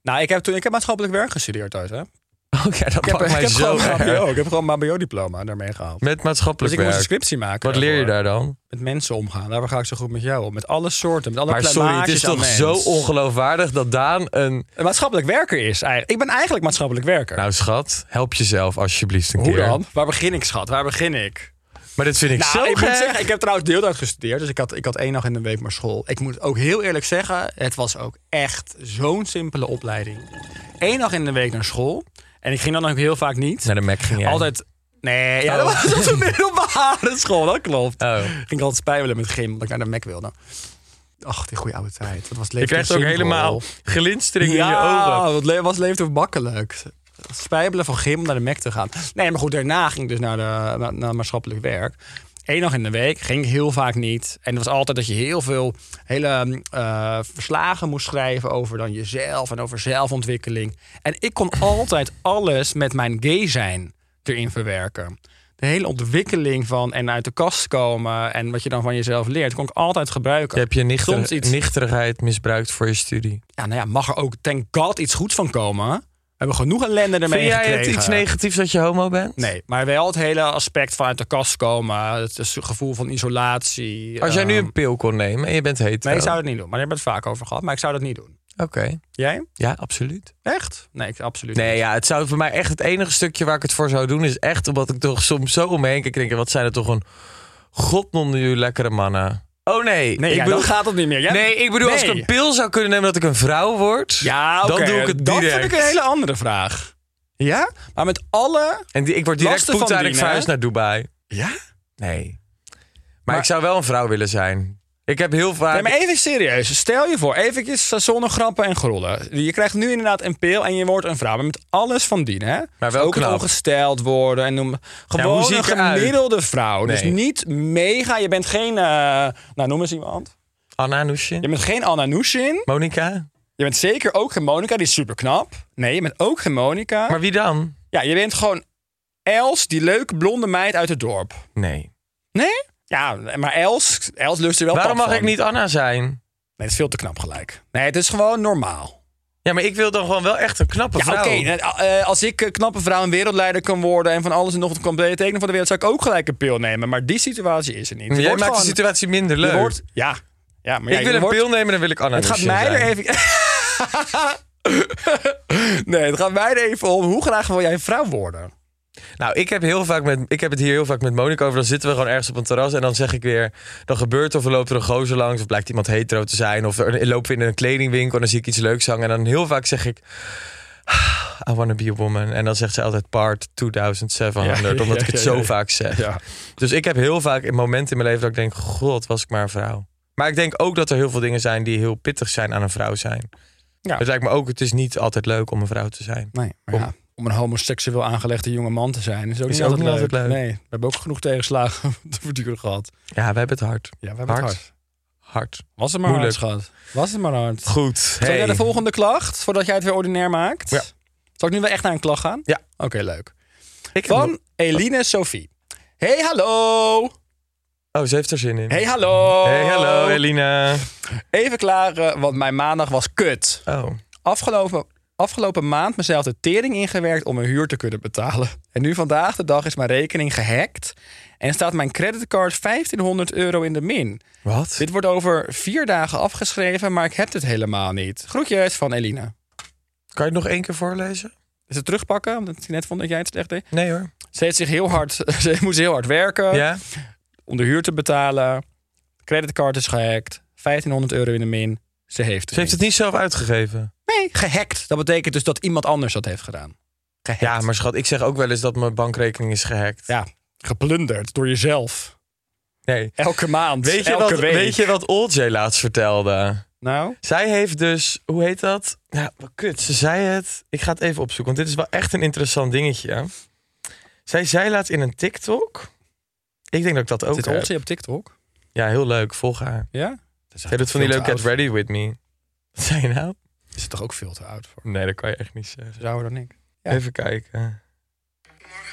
Speaker 2: Nou, ik heb toen ik heb maatschappelijk werk gestudeerd thuis, hè?
Speaker 1: Oh ja, dat
Speaker 2: Ik heb,
Speaker 1: pakt
Speaker 2: ik
Speaker 1: mij
Speaker 2: heb
Speaker 1: zo
Speaker 2: gewoon een
Speaker 1: erg.
Speaker 2: HBO. Ik heb gewoon een HBO-diploma daarmee gehaald.
Speaker 1: Met
Speaker 2: dus
Speaker 1: maatschappelijk
Speaker 2: ik moest een
Speaker 1: werk.
Speaker 2: scriptie maken.
Speaker 1: Wat leer je
Speaker 2: daarvoor.
Speaker 1: daar dan?
Speaker 2: Met mensen omgaan. Daarvoor ga ik zo goed met jou om. Met alle soorten. Met alle
Speaker 1: Maar sorry, het is
Speaker 2: plamages aan
Speaker 1: toch zo
Speaker 2: mens.
Speaker 1: ongeloofwaardig dat Daan een...
Speaker 2: Een maatschappelijk werker is eigenlijk. Ik ben eigenlijk maatschappelijk werker.
Speaker 1: Nou schat, help jezelf alsjeblieft een
Speaker 2: Hoe
Speaker 1: keer.
Speaker 2: dan? Waar begin ik, schat? Waar begin ik?
Speaker 1: Maar dit vind ik
Speaker 2: Nou,
Speaker 1: zo
Speaker 2: ik moet
Speaker 1: gek.
Speaker 2: zeggen, ik heb trouwens deeltijd gestudeerd. Dus ik had, ik had één dag in de week maar school. Ik moet ook heel eerlijk zeggen, het was ook echt zo'n simpele opleiding. Eén dag in de week naar school. En ik ging dan ook heel vaak niet.
Speaker 1: Naar de Mac ging jij.
Speaker 2: Altijd... Nee, ja, dat
Speaker 1: Oh.
Speaker 2: was- dat was een middelbare school, dat klopt.
Speaker 1: Oh.
Speaker 2: Ging ik altijd spijbelen met gym, omdat ik naar de Mac wilde. Ach, die goede oude tijd. Wat was
Speaker 1: Je
Speaker 2: leeftijd
Speaker 1: krijgt ook
Speaker 2: simpel.
Speaker 1: helemaal glinstering in je
Speaker 2: Ja,
Speaker 1: ogen.
Speaker 2: wat le- was leeft of makkelijk. Spijbelen van gym om naar de Mac te gaan. Nee, maar goed, daarna ging ik dus naar, de, naar, naar maatschappelijk werk. Eén dag in de week, ging ik heel vaak niet. En het was altijd dat je heel veel hele eh, verslagen moest schrijven over dan jezelf en over zelfontwikkeling. En ik kon altijd alles met mijn gay zijn erin verwerken. De hele ontwikkeling van en uit de kast komen en wat je dan van jezelf leert, kon ik altijd gebruiken.
Speaker 1: Je hebt je nichter-
Speaker 2: Soms iets-
Speaker 1: nichterigheid misbruikt voor je studie.
Speaker 2: ja, nou ja, mag er ook, thank god, iets goeds van komen. We hebben genoeg ellende ermee
Speaker 1: Vind jij het
Speaker 2: gekregen.
Speaker 1: iets negatiefs dat je homo bent?
Speaker 2: Nee, maar wel het hele aspect van uit de kast komen. Het, is het gevoel van isolatie.
Speaker 1: Als jij nu
Speaker 2: ehm,
Speaker 1: een pil kon nemen en je bent hetero.
Speaker 2: Nee, ik zou het niet doen. Maar daar hebben we het vaak over gehad. Maar ik zou dat niet doen.
Speaker 1: Oké.
Speaker 2: Jij?
Speaker 1: Ja, absoluut.
Speaker 2: Echt? Nee, ik, absoluut
Speaker 1: Nee,
Speaker 2: niet.
Speaker 1: ja, het zou voor mij echt het enige stukje waar ik het voor zou doen is echt omdat ik toch soms zo om me heen kijk en denk, wat zijn er toch een godnon jullie lekkere mannen. Oh nee,
Speaker 2: Nee,
Speaker 1: ik
Speaker 2: ja,
Speaker 1: bedoel,
Speaker 2: dan gaat het niet meer. Jij-
Speaker 1: nee, ik bedoel als ik
Speaker 2: Nee.
Speaker 1: een pil zou kunnen nemen dat ik een vrouw word,
Speaker 2: Ja, oké.
Speaker 1: dan doe ik het
Speaker 2: Dat
Speaker 1: direct.
Speaker 2: vind ik een hele andere vraag. Ja? Maar met alle...
Speaker 1: En die, ik word direct
Speaker 2: Lasten van
Speaker 1: poet en ik
Speaker 2: dien,
Speaker 1: verhuis
Speaker 2: hè?
Speaker 1: naar Dubai.
Speaker 2: Ja?
Speaker 1: Nee. Maar,
Speaker 2: Maar-
Speaker 1: ik zou wel een vrouw willen zijn. Ik heb heel vaak...
Speaker 2: Nee, maar even serieus. Stel je voor, eventjes eh, zonder grappen en grollen. Je krijgt nu inderdaad een pil en je wordt een vrouw. Maar met alles van dien, hè?
Speaker 1: Maar wel
Speaker 2: ook
Speaker 1: knap.
Speaker 2: het ongesteld worden en noem... Gewoon
Speaker 1: hoe zie
Speaker 2: een
Speaker 1: ik eruit?
Speaker 2: gemiddelde vrouw. Dus
Speaker 1: Nee.
Speaker 2: niet mega. Je bent geen... eh, nou, noem eens iemand.
Speaker 1: Anna Nushin,
Speaker 2: Je bent geen Anna Nushin.
Speaker 1: Monica.
Speaker 2: Je bent zeker ook geen Monica. Die is super knap. Nee, je bent ook geen Monica.
Speaker 1: Maar wie dan?
Speaker 2: Ja, je bent gewoon Els, die leuke blonde meid uit het dorp.
Speaker 1: Nee.
Speaker 2: Nee? Ja, maar Els, Els lust er wel
Speaker 1: Waarom
Speaker 2: pap
Speaker 1: mag ik
Speaker 2: van.
Speaker 1: niet Anna zijn?
Speaker 2: Nee, het is veel te knap gelijk. Nee, het is gewoon normaal.
Speaker 1: Ja, maar ik wil dan gewoon wel echt een knappe
Speaker 2: Ja,
Speaker 1: vrouw.
Speaker 2: oké. eh, eh, Als ik eh, knappe vrouw en wereldleider kan worden en van alles en nog wat kan betekenen van de wereld, zou ik ook gelijk een pil nemen. Maar die situatie is er niet.
Speaker 1: Jij
Speaker 2: Je
Speaker 1: maakt
Speaker 2: wordt
Speaker 1: de
Speaker 2: gewoon-
Speaker 1: situatie minder
Speaker 2: je
Speaker 1: leuk.
Speaker 2: wordt- ja. ja, maar ja,
Speaker 1: ik
Speaker 2: je
Speaker 1: wil een
Speaker 2: wordt-
Speaker 1: pil nemen en dan wil ik Anna
Speaker 2: Het gaat
Speaker 1: Nushin
Speaker 2: mij er
Speaker 1: zijn.
Speaker 2: even. nee, het gaat mij er even om. Hoe graag wil jij een vrouw worden?
Speaker 1: Nou, ik heb, heel vaak met, ik heb het hier heel vaak met Monica over. Dan zitten we gewoon ergens op een terras en dan zeg ik weer... dan gebeurt er of er loopt er een gozer langs of blijkt iemand hetero te zijn... of er, lopen we in een kledingwinkel en dan zie ik iets leuks hangen. En dan heel vaak zeg ik... "Ah, I wanna be a woman. En dan zegt ze altijd part 2700,
Speaker 2: Ja, ja,
Speaker 1: omdat ik
Speaker 2: ja,
Speaker 1: het
Speaker 2: ja,
Speaker 1: zo
Speaker 2: ja.
Speaker 1: vaak zeg.
Speaker 2: Ja.
Speaker 1: Dus ik heb heel vaak in momenten in mijn leven dat ik denk... god, was ik maar een vrouw. Maar ik denk ook dat er heel veel dingen zijn die heel pittig zijn aan een vrouw zijn.
Speaker 2: Ja.
Speaker 1: Het lijkt me ook, het is niet altijd leuk om een vrouw te zijn.
Speaker 2: Nee, maar
Speaker 1: Om-
Speaker 2: ja. om een homoseksueel aangelegde jonge man te zijn. Is ook
Speaker 1: Is
Speaker 2: niet
Speaker 1: ook niet
Speaker 2: altijd,
Speaker 1: altijd
Speaker 2: leuk.
Speaker 1: leuk.
Speaker 2: Nee, we hebben ook genoeg tegenslagen te verduren gehad.
Speaker 1: Ja, we hebben het hard.
Speaker 2: Ja, we hebben het
Speaker 1: Hard.
Speaker 2: hard.
Speaker 1: Hard.
Speaker 2: Was het maar
Speaker 1: Moeilijk.
Speaker 2: hard, schat. Was het maar hard.
Speaker 1: Goed.
Speaker 2: Zal ik
Speaker 1: hey.
Speaker 2: naar de volgende klacht, voordat jij het weer ordinair maakt?
Speaker 1: Ja.
Speaker 2: Zal ik nu wel echt naar een klacht gaan?
Speaker 1: Ja.
Speaker 2: Oké, leuk.
Speaker 1: Ik heb nog-
Speaker 2: Van Eline Sophie. Hey, hallo.
Speaker 1: Oh, ze heeft er zin in.
Speaker 2: Hey, hallo.
Speaker 1: Hey, hallo Elina.
Speaker 2: Even klaren, want mijn maandag was kut.
Speaker 1: Oh.
Speaker 2: Afgelopen, afgelopen maand mezelf de tering ingewerkt om mijn huur te kunnen betalen. En nu vandaag de dag is mijn rekening gehackt en staat mijn creditcard 1500 euro in de min.
Speaker 1: Wat?
Speaker 2: Dit wordt over vier dagen afgeschreven, maar ik heb dit helemaal niet. Groetjes van Elina.
Speaker 1: Kan je het nog één keer voorlezen?
Speaker 2: Is het terugpakken? Omdat ik net vond dat jij het slecht deed.
Speaker 1: Nee hoor.
Speaker 2: Ze heeft zich heel hard, ze moest heel hard werken
Speaker 1: Ja?
Speaker 2: om de huur te betalen. Creditcard is gehackt. 1500 euro in de min. Ze heeft het,
Speaker 1: Ze heeft het niet zelf uitgegeven.
Speaker 2: Nee, gehackt. Dat betekent dus dat iemand anders dat heeft gedaan. Gehackt.
Speaker 1: Ja, maar schat, ik zeg ook wel eens dat mijn bankrekening is gehackt.
Speaker 2: Ja, geplunderd door jezelf.
Speaker 1: Nee.
Speaker 2: Elke maand,
Speaker 1: Weet je,
Speaker 2: elke
Speaker 1: wat,
Speaker 2: week.
Speaker 1: weet je wat Oljay laatst vertelde?
Speaker 2: Nou,
Speaker 1: Zij heeft dus, hoe heet dat? Nou, wat kut, ze zei het. Ik ga het even opzoeken, want dit is wel echt een interessant dingetje. Zij zei laat in een TikTok. Ik denk dat ik dat ook
Speaker 2: zit
Speaker 1: heb.
Speaker 2: Olsie op TikTok?
Speaker 1: Ja, heel leuk, volg haar.
Speaker 2: Ja? Dat
Speaker 1: Zij doet van die leuk,
Speaker 2: leuke
Speaker 1: get ready with me. Wat zei je nou?
Speaker 2: Is het toch ook veel te oud voor?
Speaker 1: Nee, dat kan je echt niet zeggen.
Speaker 2: Zou dan ik. Ja.
Speaker 1: Even kijken.
Speaker 3: Morgen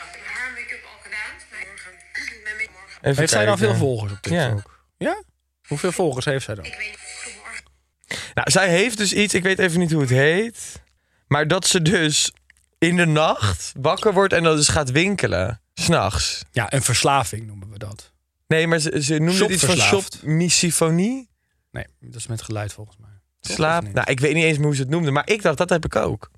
Speaker 3: heb ik haar make-up al gedaan. Mijn- Morgen. Mijn make- morgen.
Speaker 1: Even
Speaker 2: Heeft zij dan veel
Speaker 1: kijken.
Speaker 2: volgers op
Speaker 1: Ja.
Speaker 2: TikTok? Ja. Hoeveel volgers heeft zij dan?
Speaker 3: Ik weet niet. Morgen.
Speaker 1: Nou, zij heeft dus iets, ik weet even niet hoe het heet. Maar dat ze dus in de nacht wakker wordt en dan dus gaat winkelen. S'nachts.
Speaker 2: Ja, een verslaving noemen we dat.
Speaker 1: Nee, maar ze, ze noemde het iets van
Speaker 2: Shopverslaafd.
Speaker 1: shopmisophonie.
Speaker 2: Nee, dat is met geluid volgens mij. Toch, of
Speaker 1: Slaap.
Speaker 2: niet?
Speaker 1: Nou, ik weet niet eens meer hoe ze het noemden, maar ik dacht, dat heb ik ook.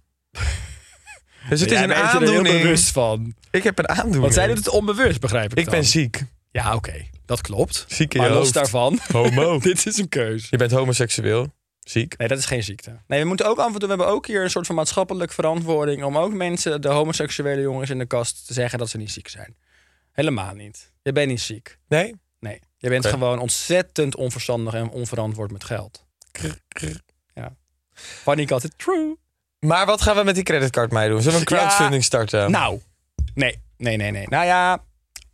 Speaker 1: dus het is
Speaker 2: Jij
Speaker 1: een
Speaker 2: bent er heel
Speaker 1: aandoening.
Speaker 2: bewust van.
Speaker 1: Ik heb een aandoening.
Speaker 2: Want zij doet het onbewust, begrijp ik
Speaker 1: Ik
Speaker 2: dan.
Speaker 1: ben ziek.
Speaker 2: Ja, oké. Dat klopt.
Speaker 1: Ziek in
Speaker 2: maar
Speaker 1: je
Speaker 2: los
Speaker 1: hoofd.
Speaker 2: daarvan.
Speaker 1: Homo.
Speaker 2: dit is een keus.
Speaker 1: Je bent homoseksueel. Ziek.
Speaker 2: Nee, dat is geen ziekte. Nee, we moeten ook af en toe. We hebben ook hier een soort van maatschappelijk verantwoording. om ook mensen, de homoseksuele jongens in de kast, te zeggen dat ze niet ziek zijn. Helemaal niet. Je bent niet ziek.
Speaker 1: Nee?
Speaker 2: Nee. Je bent
Speaker 1: Oké.
Speaker 2: gewoon ontzettend onverstandig en onverantwoord met geld. Ja. Paniek altijd true.
Speaker 1: Maar wat gaan we met die creditcard mij doen? Zullen we een
Speaker 2: Ja.
Speaker 1: crowdfunding starten?
Speaker 2: Nou, nee, nee, nee, nee. Nou ja,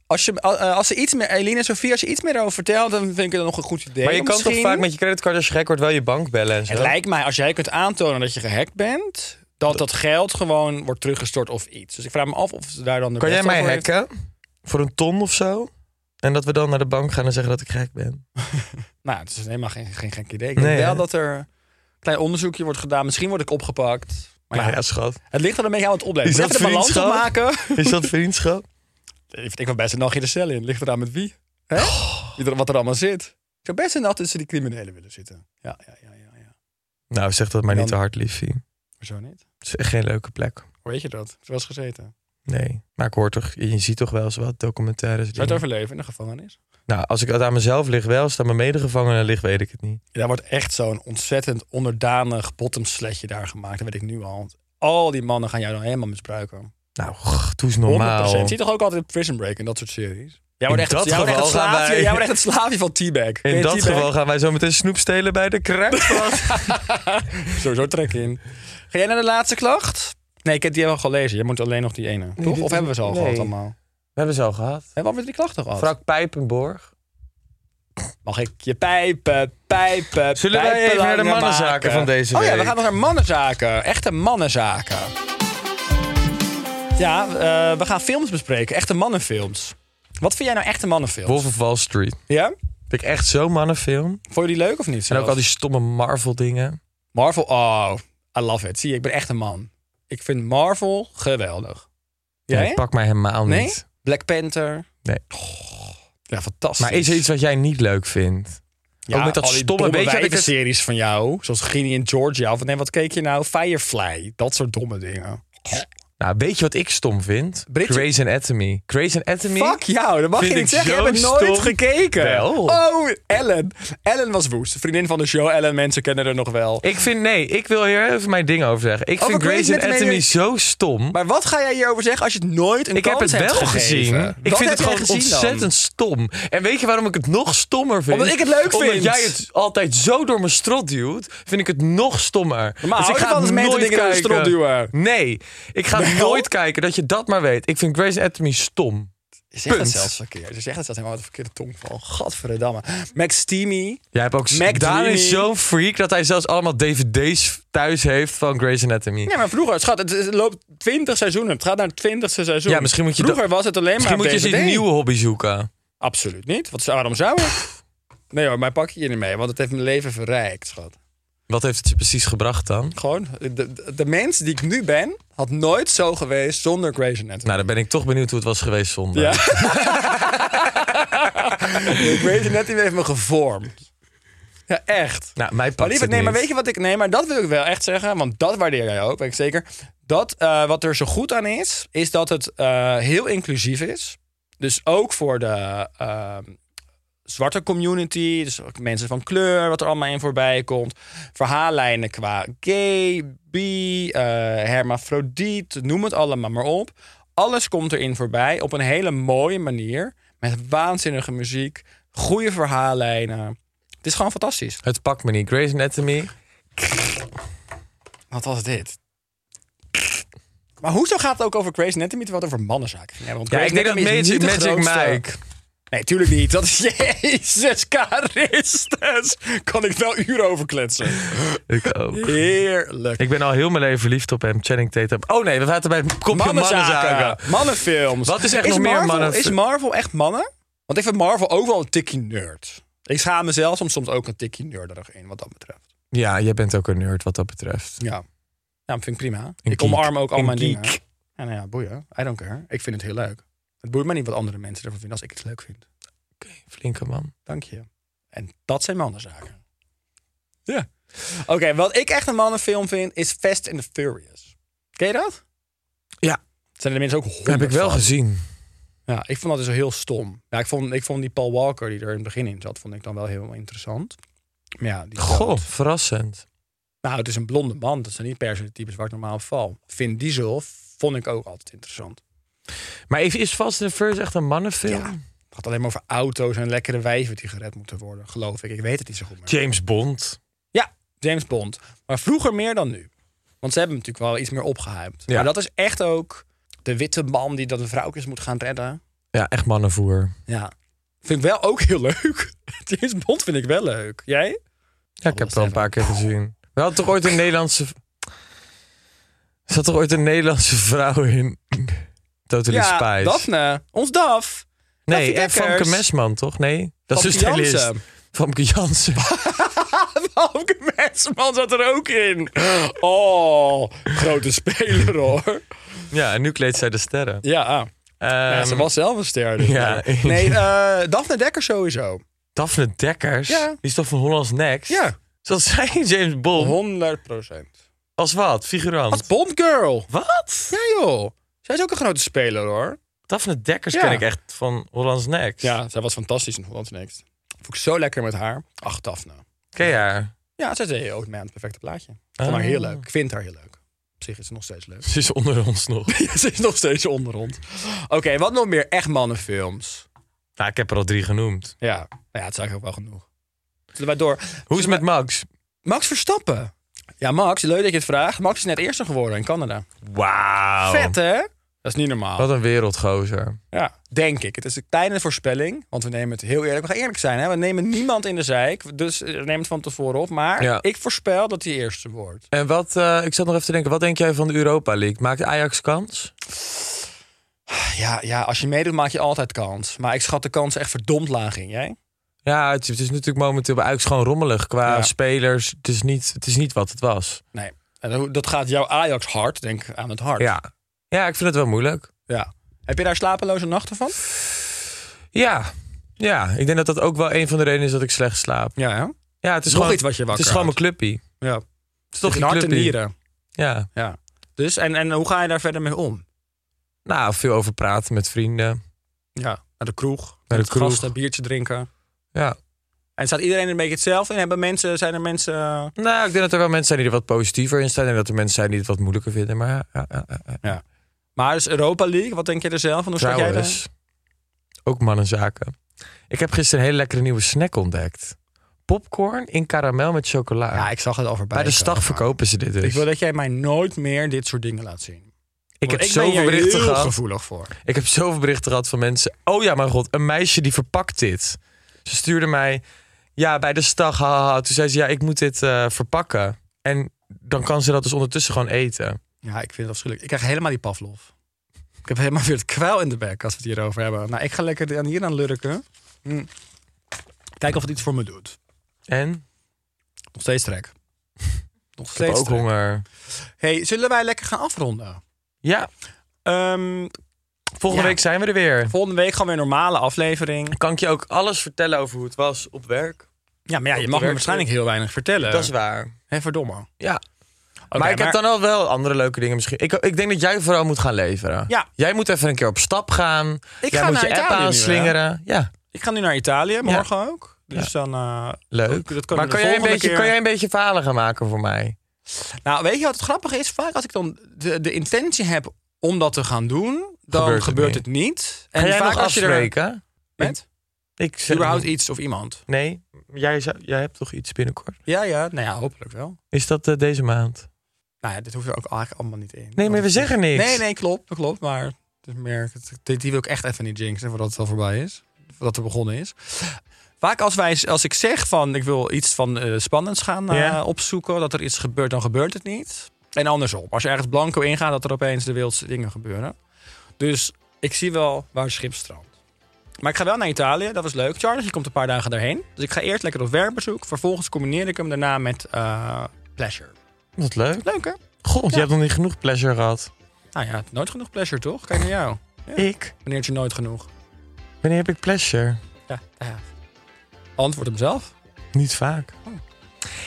Speaker 2: als, je, eh, als ze iets meer, Eline en Sofie, als je iets meer over vertelt, dan vind ik het nog een goed idee.
Speaker 1: maar je kan
Speaker 2: misschien.
Speaker 1: toch vaak met je creditcard als je gek wordt wel je bank bellen en zo?
Speaker 2: Het lijkt mij, als jij kunt aantonen dat je gehackt bent, dat dat geld gewoon wordt teruggestort of iets. Dus ik vraag me af of ze daar dan de
Speaker 1: Kan jij
Speaker 2: best
Speaker 1: mij
Speaker 2: over heeft.
Speaker 1: hacken? Voor een ton of zo? En dat we dan naar de bank gaan en zeggen dat ik gek ben.
Speaker 2: Nou, het is helemaal geen, geen gek idee. Ik denk
Speaker 1: Nee,
Speaker 2: wel
Speaker 1: hè?
Speaker 2: dat er een klein onderzoekje wordt gedaan. Misschien word ik opgepakt. Maar
Speaker 1: Maar
Speaker 2: ja,
Speaker 1: ja, schat.
Speaker 2: het ligt er een beetje aan wat het oplevert.
Speaker 1: Is
Speaker 2: Moet
Speaker 1: dat
Speaker 2: Even de balans
Speaker 1: vriendschap?
Speaker 2: opmaken.
Speaker 1: Is dat vriendschap?
Speaker 2: Ik wil best een nachtje de cel in. Ligt eraan met wie? Hè? Ieder- Wat er allemaal zit. Ik zou best een nacht tussen die criminelen willen zitten. Ja, ja, ja, ja. ja.
Speaker 1: Nou, zeg dat maar
Speaker 2: Dan-
Speaker 1: niet te hard, liefie.
Speaker 2: Hoezo niet?
Speaker 1: Het is echt geen leuke plek.
Speaker 2: Hoe weet je dat? Heb je wel eens gezeten.
Speaker 1: Nee. Maar ik hoor toch, je ziet toch wel eens wat documentaires.
Speaker 2: Zou je het
Speaker 1: dingen.
Speaker 2: overleven in de gevangenis?
Speaker 1: Nou, als ik het aan mezelf lig wel, als het aan mijn medegevangenen ligt, weet ik het niet.
Speaker 2: Ja, daar wordt echt zo'n ontzettend onderdanig bottomsletje daar gemaakt. Dat weet ik nu al. Want al die mannen gaan jou dan helemaal misbruiken.
Speaker 1: Nou, g- doe eens normaal.
Speaker 2: 100%. Zie je toch ook altijd Prison Break en dat soort series? Jij wordt echt,
Speaker 1: dat
Speaker 2: jij wordt echt, het,
Speaker 1: geval gaan
Speaker 2: slaafje,
Speaker 1: wij-
Speaker 2: jij wordt echt het slaafje van T-Bag. Ken
Speaker 1: In
Speaker 2: je
Speaker 1: dat
Speaker 2: T-Bag?
Speaker 1: geval gaan wij zo meteen snoep stelen bij de crackpot.
Speaker 2: Sowieso trek in. Ga jij naar de laatste klacht? Nee, ik heb die al gelezen. Je moet alleen nog die ene. toch?
Speaker 1: dit
Speaker 2: Of
Speaker 1: is-
Speaker 2: hebben we ze al
Speaker 1: nee.
Speaker 2: gehad allemaal?
Speaker 1: We hebben ze al gehad.
Speaker 2: En wat met die klachten gehad?
Speaker 1: Frank Pijpenborg.
Speaker 2: Mag ik je pijpen, pijpen,
Speaker 1: Zullen wij
Speaker 2: pijpen
Speaker 1: even naar de
Speaker 2: langer
Speaker 1: mannenzaken
Speaker 2: maken?
Speaker 1: van deze
Speaker 2: Oh ja, we
Speaker 1: week?
Speaker 2: gaan nog naar mannenzaken. Echte mannenzaken. Ja, eh, we gaan films bespreken. Echte mannenfilms. Wat vind jij nou echte mannenfilms?
Speaker 1: Wolf of Wall Street.
Speaker 2: Ja?
Speaker 1: Vind ik echt zo'n mannenfilm.
Speaker 2: Vond je die leuk of niet?
Speaker 1: En
Speaker 2: zelfs?
Speaker 1: ook al die stomme Marvel dingen.
Speaker 2: Marvel, oh, I love it. Zie je, ik ben echt een man. Ik vind Marvel geweldig. Jij?
Speaker 1: Nee, pak mij helemaal niet.
Speaker 2: Nee? Black Panther?
Speaker 1: Nee.
Speaker 2: Oh, ja, fantastisch.
Speaker 1: Maar is er iets wat jij niet leuk vindt?
Speaker 2: Ja,
Speaker 1: Ook met dat
Speaker 2: al die
Speaker 1: stomme-
Speaker 2: domme
Speaker 1: weet je wat ik
Speaker 2: wijven
Speaker 1: het-
Speaker 2: series van jou, zoals Ginny in Georgia. Of nee, wat keek je nou? Firefly, dat soort domme dingen.
Speaker 1: Nou, weet je wat ik stom vind?
Speaker 2: Bridget-
Speaker 1: Grey's Anatomy. Grey's Anatomy.
Speaker 2: Fuck jou, dat mag
Speaker 1: Vind
Speaker 2: je
Speaker 1: ik
Speaker 2: niet zeggen. Je
Speaker 1: zo
Speaker 2: hebt het nooit
Speaker 1: stom.
Speaker 2: gekeken.
Speaker 1: Wel.
Speaker 2: Oh, Ellen. Ellen was woest. Vriendin van de show. Ellen, mensen kennen haar nog wel.
Speaker 1: Ik vind, nee, ik wil hier even mijn ding over zeggen. Ik
Speaker 2: Over
Speaker 1: vind
Speaker 2: Grey's
Speaker 1: Grey's Anatomy,
Speaker 2: Anatomy-
Speaker 1: zo stom.
Speaker 2: Maar wat ga jij hierover zeggen als je het nooit een
Speaker 1: Ik heb
Speaker 2: kans
Speaker 1: het wel
Speaker 2: hebt gegeven?
Speaker 1: gezien. Ik vind
Speaker 2: Wat heb
Speaker 1: het
Speaker 2: jij
Speaker 1: gewoon
Speaker 2: gezien dan?
Speaker 1: ontzettend stom. En weet je waarom ik het nog stommer vind?
Speaker 2: Omdat ik het leuk
Speaker 1: Omdat
Speaker 2: vind.
Speaker 1: jij het altijd zo door mijn strot duwt, vind ik het nog stommer.
Speaker 2: Maar hou je van als mensen dingen door je strot duwen?
Speaker 1: Nee, ik ga nooit kijken dat je dat maar weet. Ik vind Grey's Anatomy stom.
Speaker 2: Ze zegt het
Speaker 1: Punt.
Speaker 2: zelfs verkeerd. Ze zegt het zelfs helemaal met de verkeerde tongval. Gadverdamme. Max Steamy.
Speaker 1: Jij hebt ook
Speaker 2: Mac
Speaker 1: Daan
Speaker 2: Dreamy.
Speaker 1: is zo'n freak dat hij zelfs allemaal DVD's thuis heeft van Grey's Anatomy.
Speaker 2: Nee, maar vroeger, schat, het, het loopt 20 seizoenen. Het gaat naar het twintigste seizoen.
Speaker 1: Ja, misschien moet je
Speaker 2: vroeger
Speaker 1: dat-
Speaker 2: was het alleen
Speaker 1: Misschien
Speaker 2: maar
Speaker 1: moet je eens
Speaker 2: DVD.
Speaker 1: een nieuwe hobby zoeken.
Speaker 2: Absoluut niet. Wat, waarom zou ik? Nee hoor, mij pak je hier niet mee, want het heeft mijn leven verrijkt, schat.
Speaker 1: Wat heeft het je precies gebracht dan?
Speaker 2: Gewoon, de, de, de mens die ik nu ben, had nooit zo geweest zonder Grey's Anatomy.
Speaker 1: Nou, dan ben ik toch benieuwd hoe het was geweest zonder.
Speaker 2: Ja. Grey's Anatomy heeft me gevormd. Ja, echt.
Speaker 1: Nou, mij
Speaker 2: Maar
Speaker 1: pakt
Speaker 2: lieverd,
Speaker 1: het
Speaker 2: nee, maar
Speaker 1: niet.
Speaker 2: weet je wat ik... Nee, maar dat wil ik wel echt zeggen, want dat waardeer jij ook, weet ik zeker. Dat eh, wat er zo goed aan is, is dat het eh, heel inclusief is. Dus ook voor de eh, zwarte community, dus ook mensen van kleur, wat er allemaal in voorbij komt. Verhaallijnen qua gay, bi, eh hermafrodiet, noem het allemaal maar op. Alles komt erin voorbij op een hele mooie manier. Met waanzinnige muziek, goede verhaallijnen. Het is gewoon fantastisch.
Speaker 1: Het pakt me niet. Grey's Anatomy.
Speaker 2: Wat was dit? Maar hoezo gaat het ook over Grey's Anatomy terwijl het over mannenzaken ging hebben? Want
Speaker 1: Ja,
Speaker 2: Grey's
Speaker 1: ik denk dat
Speaker 2: Anatomy is
Speaker 1: Magic,
Speaker 2: niet de
Speaker 1: Magic
Speaker 2: grootste-
Speaker 1: Mike.
Speaker 2: Nee, tuurlijk niet. Dat is Jezus Christus. Kan ik wel uren over kletsen.
Speaker 1: Ik ook.
Speaker 2: Heerlijk.
Speaker 1: Ik ben al heel mijn leven verliefd op hem. Channing Tatum. Oh nee, we zaten bij het kopje mannenzaken.
Speaker 2: Mannenfilms.
Speaker 1: Wat is echt nog meer
Speaker 2: Marvel,
Speaker 1: mannenfil-
Speaker 2: Is Marvel echt mannen? Want ik vind Marvel ook wel een tikkie nerd. Ik schaam mezelf soms, soms ook een tikkie nerderig in, wat dat betreft.
Speaker 1: Ja, jij bent ook een nerd wat dat betreft.
Speaker 2: Ja. Ja, dat vind ik prima.
Speaker 1: Een
Speaker 2: ik
Speaker 1: geek.
Speaker 2: omarm ook al
Speaker 1: Een
Speaker 2: mijn
Speaker 1: geek.
Speaker 2: dingen. Ja, nou ja, boeien. I don't care. Ik vind het heel leuk. Het boeit me niet wat andere mensen ervan vinden als ik het leuk vind.
Speaker 1: Flinke man.
Speaker 2: Dank je. En dat zijn mannenzaken. Ja. Oké, wat ik echt een mannenfilm vind is Fast and the Furious. Ken je dat?
Speaker 1: Ja.
Speaker 2: Zijn er mensen ook honderd
Speaker 1: Heb ik wel
Speaker 2: van.
Speaker 1: gezien.
Speaker 2: Ja, ik vond dat dus heel stom. Ja, ik vond, ik vond die Paul Walker die er in het begin in zat, vond ik dan wel heel interessant. Maar ja, die
Speaker 1: Goh,
Speaker 2: dood.
Speaker 1: verrassend.
Speaker 2: Nou, het is een blonde man. Dat zijn niet per se de types waar ik normaal op val. Vin Diesel vond ik ook altijd interessant.
Speaker 1: Maar even, is Fast and the Furious echt een mannenfilm?
Speaker 2: Ja. Het gaat alleen maar over auto's en lekkere wijven die gered moeten worden, geloof ik. Ik weet het niet zo goed meer.
Speaker 1: James Bond.
Speaker 2: Ja, James Bond. Maar vroeger meer dan nu. Want ze hebben hem natuurlijk wel iets meer opgehyped.
Speaker 1: Ja.
Speaker 2: Maar dat is echt ook de witte man die dat de vrouwtjes moet gaan redden.
Speaker 1: Ja, echt mannenvoer.
Speaker 2: Ja. Vind ik wel ook heel leuk. James Bond vind ik wel leuk. Jij?
Speaker 1: Ja, ik heb het al een paar keer gezien. We hadden toch ooit een Nederlandse... Er zat toch ooit een Nederlandse vrouw in? Totally
Speaker 2: Ja,
Speaker 1: Spies.
Speaker 2: Daphne. Ons Daf.
Speaker 1: nee, en
Speaker 2: Daphne
Speaker 1: Famke
Speaker 2: Dekkers.
Speaker 1: Mesman, toch? Nee, dat is
Speaker 2: Famke
Speaker 1: dus de
Speaker 2: Janssen.
Speaker 1: list. Famke Jansen.
Speaker 2: Ah, Famke Mesman zat er ook in. Oh, grote speler hoor.
Speaker 1: Ja, en nu kleedt zij de sterren.
Speaker 2: Ja, ah. Ja,
Speaker 1: Ehm,
Speaker 2: ze was zelf een ster. dus.
Speaker 1: ja.
Speaker 2: Nee, eh Daphne Dekker sowieso.
Speaker 1: Daphne Dekkers,
Speaker 2: Ja.
Speaker 1: die is toch van Hollands Next?
Speaker 2: Ja.
Speaker 1: Zat zij in James Bond?
Speaker 2: 100 procent.
Speaker 1: Als wat? Figurant?
Speaker 2: Als Bondgirl.
Speaker 1: Wat?
Speaker 2: Ja joh. Zij is ook een grote speler hoor.
Speaker 1: Daphne Dekkers
Speaker 2: Ja.
Speaker 1: ken ik echt van Hollands Next.
Speaker 2: Ja, zij was fantastisch in Holland's Next. Vond ik zo lekker met haar. Ach, Daphne.
Speaker 1: Ken je haar?
Speaker 2: Ja, zij deed ook mee aan het perfecte plaatje. Ik vond haar
Speaker 1: Ah.
Speaker 2: heel leuk. Ik vind haar heel leuk. Op zich is ze nog steeds leuk.
Speaker 1: Ze is onder ons nog.
Speaker 2: ze is nog steeds onder ons. Oké, wat nog meer echt mannenfilms?
Speaker 1: nou, ik heb er al drie genoemd.
Speaker 2: Ja, nou ja, het is eigenlijk ook wel genoeg. Zullen wij door?
Speaker 1: Hoe is het met Max?
Speaker 2: Max Verstappen? Ja, Max, leuk dat je het vraagt. Max is net eerste geworden in Canada.
Speaker 1: Wauw.
Speaker 2: Vet, hè? Dat is niet normaal.
Speaker 1: Wat een wereldgozer.
Speaker 2: Ja, denk ik. Het is een kleine voorspelling, want we nemen het heel eerlijk. We gaan eerlijk zijn, hè? We nemen niemand in de zeik, dus eh, neem het van tevoren op. Maar
Speaker 1: Ja.
Speaker 2: ik voorspel dat hij eerste wordt.
Speaker 1: En wat, eh, ik zat nog even te denken, wat denk jij van de Europa League? Maakt Ajax kans?
Speaker 2: Ja, ja, als je meedoet maak je altijd kans. Maar ik schat de kans echt verdomd laag in, jij?
Speaker 1: Ja, het, is- het is natuurlijk momenteel bij Ajax gewoon rommelig qua
Speaker 2: Ja.
Speaker 1: spelers. Het is, niet, het is niet wat het was.
Speaker 2: Nee. En dat- dat gaat jouw Ajax hard, denk ik, aan het hart.
Speaker 1: Ja. ja, ik vind het wel moeilijk.
Speaker 2: ja. Heb je daar slapeloze nachten van?
Speaker 1: Ja. ja, ik denk dat dat ook wel een van de redenen is dat ik slecht slaap.
Speaker 2: Ja, hè?
Speaker 1: Ja, het is
Speaker 2: Nog
Speaker 1: gewoon,
Speaker 2: iets wat je wakker
Speaker 1: Het is gewoon mijn
Speaker 2: houdt.
Speaker 1: clubpie. Het
Speaker 2: Ja.
Speaker 1: is
Speaker 2: Toch
Speaker 1: toch
Speaker 2: in
Speaker 1: je
Speaker 2: hart en
Speaker 1: clubpie.
Speaker 2: nieren.
Speaker 1: Ja.
Speaker 2: Ja. Dus, en, en hoe ga je daar verder mee om?
Speaker 1: Nou, veel over praten met vrienden.
Speaker 2: Ja. Naar de kroeg.
Speaker 1: de
Speaker 2: Naar de
Speaker 1: kroeg.
Speaker 2: gasten, een biertje drinken.
Speaker 1: Ja.
Speaker 2: En staat iedereen een beetje hetzelfde in? Hebben mensen, zijn er mensen... eh,
Speaker 1: Nou, ik denk dat er wel mensen zijn die er wat positiever in staan. En dat er mensen zijn die het wat moeilijker vinden. Maar ja, ja, ja, ja.
Speaker 2: Ja. Maar dus Europa League, wat denk je er zelf van? Hoe staat jij daar?
Speaker 1: trouwens, ook mannenzaken. Ik heb gisteren een hele lekkere nieuwe snack ontdekt. Popcorn in karamel met chocola.
Speaker 2: Ja, ik zag het al voorbij.
Speaker 1: Bij de stag
Speaker 2: komen.
Speaker 1: verkopen ze dit dus.
Speaker 2: Ik wil dat jij mij nooit meer dit soort dingen laat zien.
Speaker 1: Ik heb
Speaker 2: Want ben
Speaker 1: zoveel
Speaker 2: hier
Speaker 1: berichten
Speaker 2: heel
Speaker 1: gehad.
Speaker 2: gevoelig voor.
Speaker 1: Ik heb zoveel berichten gehad van mensen. Oh ja, mijn god, een meisje die verpakt dit. Ze stuurde mij, ja, bij de stag, haha. Toen zei ze, ja, ik moet dit eh, verpakken. En dan kan ze dat dus ondertussen gewoon eten.
Speaker 2: Ja, ik vind het afschuwelijk. Ik krijg helemaal die Pavlov. Ik heb helemaal weer het kwel in de bek als we het hierover hebben. Nou, ik ga lekker aan hier aan lurken. Hm. Kijken of het iets voor me doet.
Speaker 1: En? Ik
Speaker 2: Nog steeds trek. Nog
Speaker 1: heb
Speaker 2: steeds
Speaker 1: ook
Speaker 2: trek.
Speaker 1: honger.
Speaker 2: Hey, zullen wij lekker gaan afronden?
Speaker 1: Ja,
Speaker 2: Ehm,
Speaker 1: volgende
Speaker 2: Ja.
Speaker 1: week zijn we er weer.
Speaker 2: volgende week gewoon weer een normale aflevering.
Speaker 1: Kan ik je ook alles vertellen over hoe het was op werk?
Speaker 2: Ja, maar ja,
Speaker 1: Op
Speaker 2: je
Speaker 1: de
Speaker 2: mag me
Speaker 1: werkvloer.
Speaker 2: waarschijnlijk heel weinig vertellen.
Speaker 1: Dat is waar.
Speaker 2: Hé, verdomme. Eh, Oké,
Speaker 1: Ja. maar ik heb dan al wel andere leuke dingen misschien. Ik, ik denk dat jij vooral moet gaan leveren.
Speaker 2: Ja.
Speaker 1: Jij moet even een keer op stap gaan.
Speaker 2: Ik
Speaker 1: jij
Speaker 2: ga
Speaker 1: moet
Speaker 2: naar
Speaker 1: je app
Speaker 2: Italië nu, hè?
Speaker 1: aanslingeren. ja,
Speaker 2: Ik ga nu naar Italië, morgen ook. Dus dan... eh,
Speaker 1: leuk.
Speaker 2: Dat kan
Speaker 1: maar
Speaker 2: maar
Speaker 1: kan jij, een beetje,
Speaker 2: keer...
Speaker 1: kan jij een beetje verhalen gaan maken voor mij?
Speaker 2: Nou, weet je wat het grappige is? Vaak als ik dan de, de intentie heb om dat te gaan doen, dan
Speaker 1: Gebeurt
Speaker 2: gebeurt
Speaker 1: het
Speaker 2: het,
Speaker 1: niet.
Speaker 2: niet.
Speaker 1: En ga jij
Speaker 2: vaak
Speaker 1: nog
Speaker 2: als je er
Speaker 1: afspreken?
Speaker 2: met
Speaker 1: Ik zeg
Speaker 2: überhaupt iets of iemand.
Speaker 1: Nee, jij, zou- jij hebt toch iets binnenkort?
Speaker 2: Ja, ja, nou ja, hopelijk wel.
Speaker 1: Is dat eh, deze maand?
Speaker 2: Nou ja, dit hoeft er ook eigenlijk allemaal niet in.
Speaker 1: Nee, maar we zeggen niks.
Speaker 2: Nee, nee, klopt, dat klopt. Maar het is meer, het- dit- die wil ik echt even niet jinxen voordat het al voorbij is. Voordat het begonnen is. Vaak als, wij, als ik zeg van ik wil iets van eh, spannends gaan eh,
Speaker 1: Ja.
Speaker 2: opzoeken, dat er iets gebeurt, dan gebeurt het niet. En andersom. Als je ergens blanco ingaat, dat er opeens de wildste dingen gebeuren. Dus ik zie wel waar het schip strandt. Maar ik ga wel naar Italië, dat was leuk. Charles, je komt een paar dagen daarheen. Dus ik ga eerst lekker op werkbezoek. Vervolgens combineer ik hem daarna met eh, pleasure.
Speaker 1: Wat leuk.
Speaker 2: Leuk hè?
Speaker 1: God, je hebt nog niet genoeg pleasure gehad.
Speaker 2: Nou ja, nooit genoeg pleasure toch? Kijk naar jou.
Speaker 1: Ik?
Speaker 2: Wanneer je nooit genoeg.
Speaker 1: Wanneer heb ik pleasure?
Speaker 2: Ja. ja. Antwoord hem zelf.
Speaker 1: Niet vaak.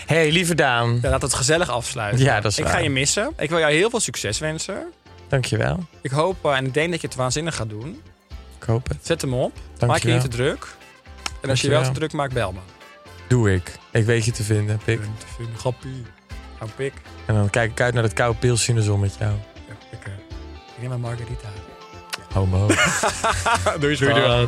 Speaker 1: hey, lieve Daan.
Speaker 2: Oh. Ja, laat het gezellig afsluiten.
Speaker 1: Ja, dat is
Speaker 2: Ik
Speaker 1: waar.
Speaker 2: ga je missen. Ik wil jou heel veel succes wensen.
Speaker 1: Dankjewel.
Speaker 2: Ik hoop eh, en ik denk dat je het waanzinnig gaat doen.
Speaker 1: Ik hoop het.
Speaker 2: Zet hem op.
Speaker 1: je
Speaker 2: Maak je niet
Speaker 1: wel.
Speaker 2: te druk. En als je
Speaker 1: Dankjewel.
Speaker 2: wel te druk maakt, bel me.
Speaker 1: Doe ik. Ik weet je te vinden, pik.
Speaker 2: te vinden. Grappie. Hou pik.
Speaker 1: En dan kijk ik uit naar dat koude pils in de zon met jou.
Speaker 2: Ja, ik, eh, ik neem een margarita.
Speaker 1: Homo. Ah,
Speaker 2: Doei, doei, doei.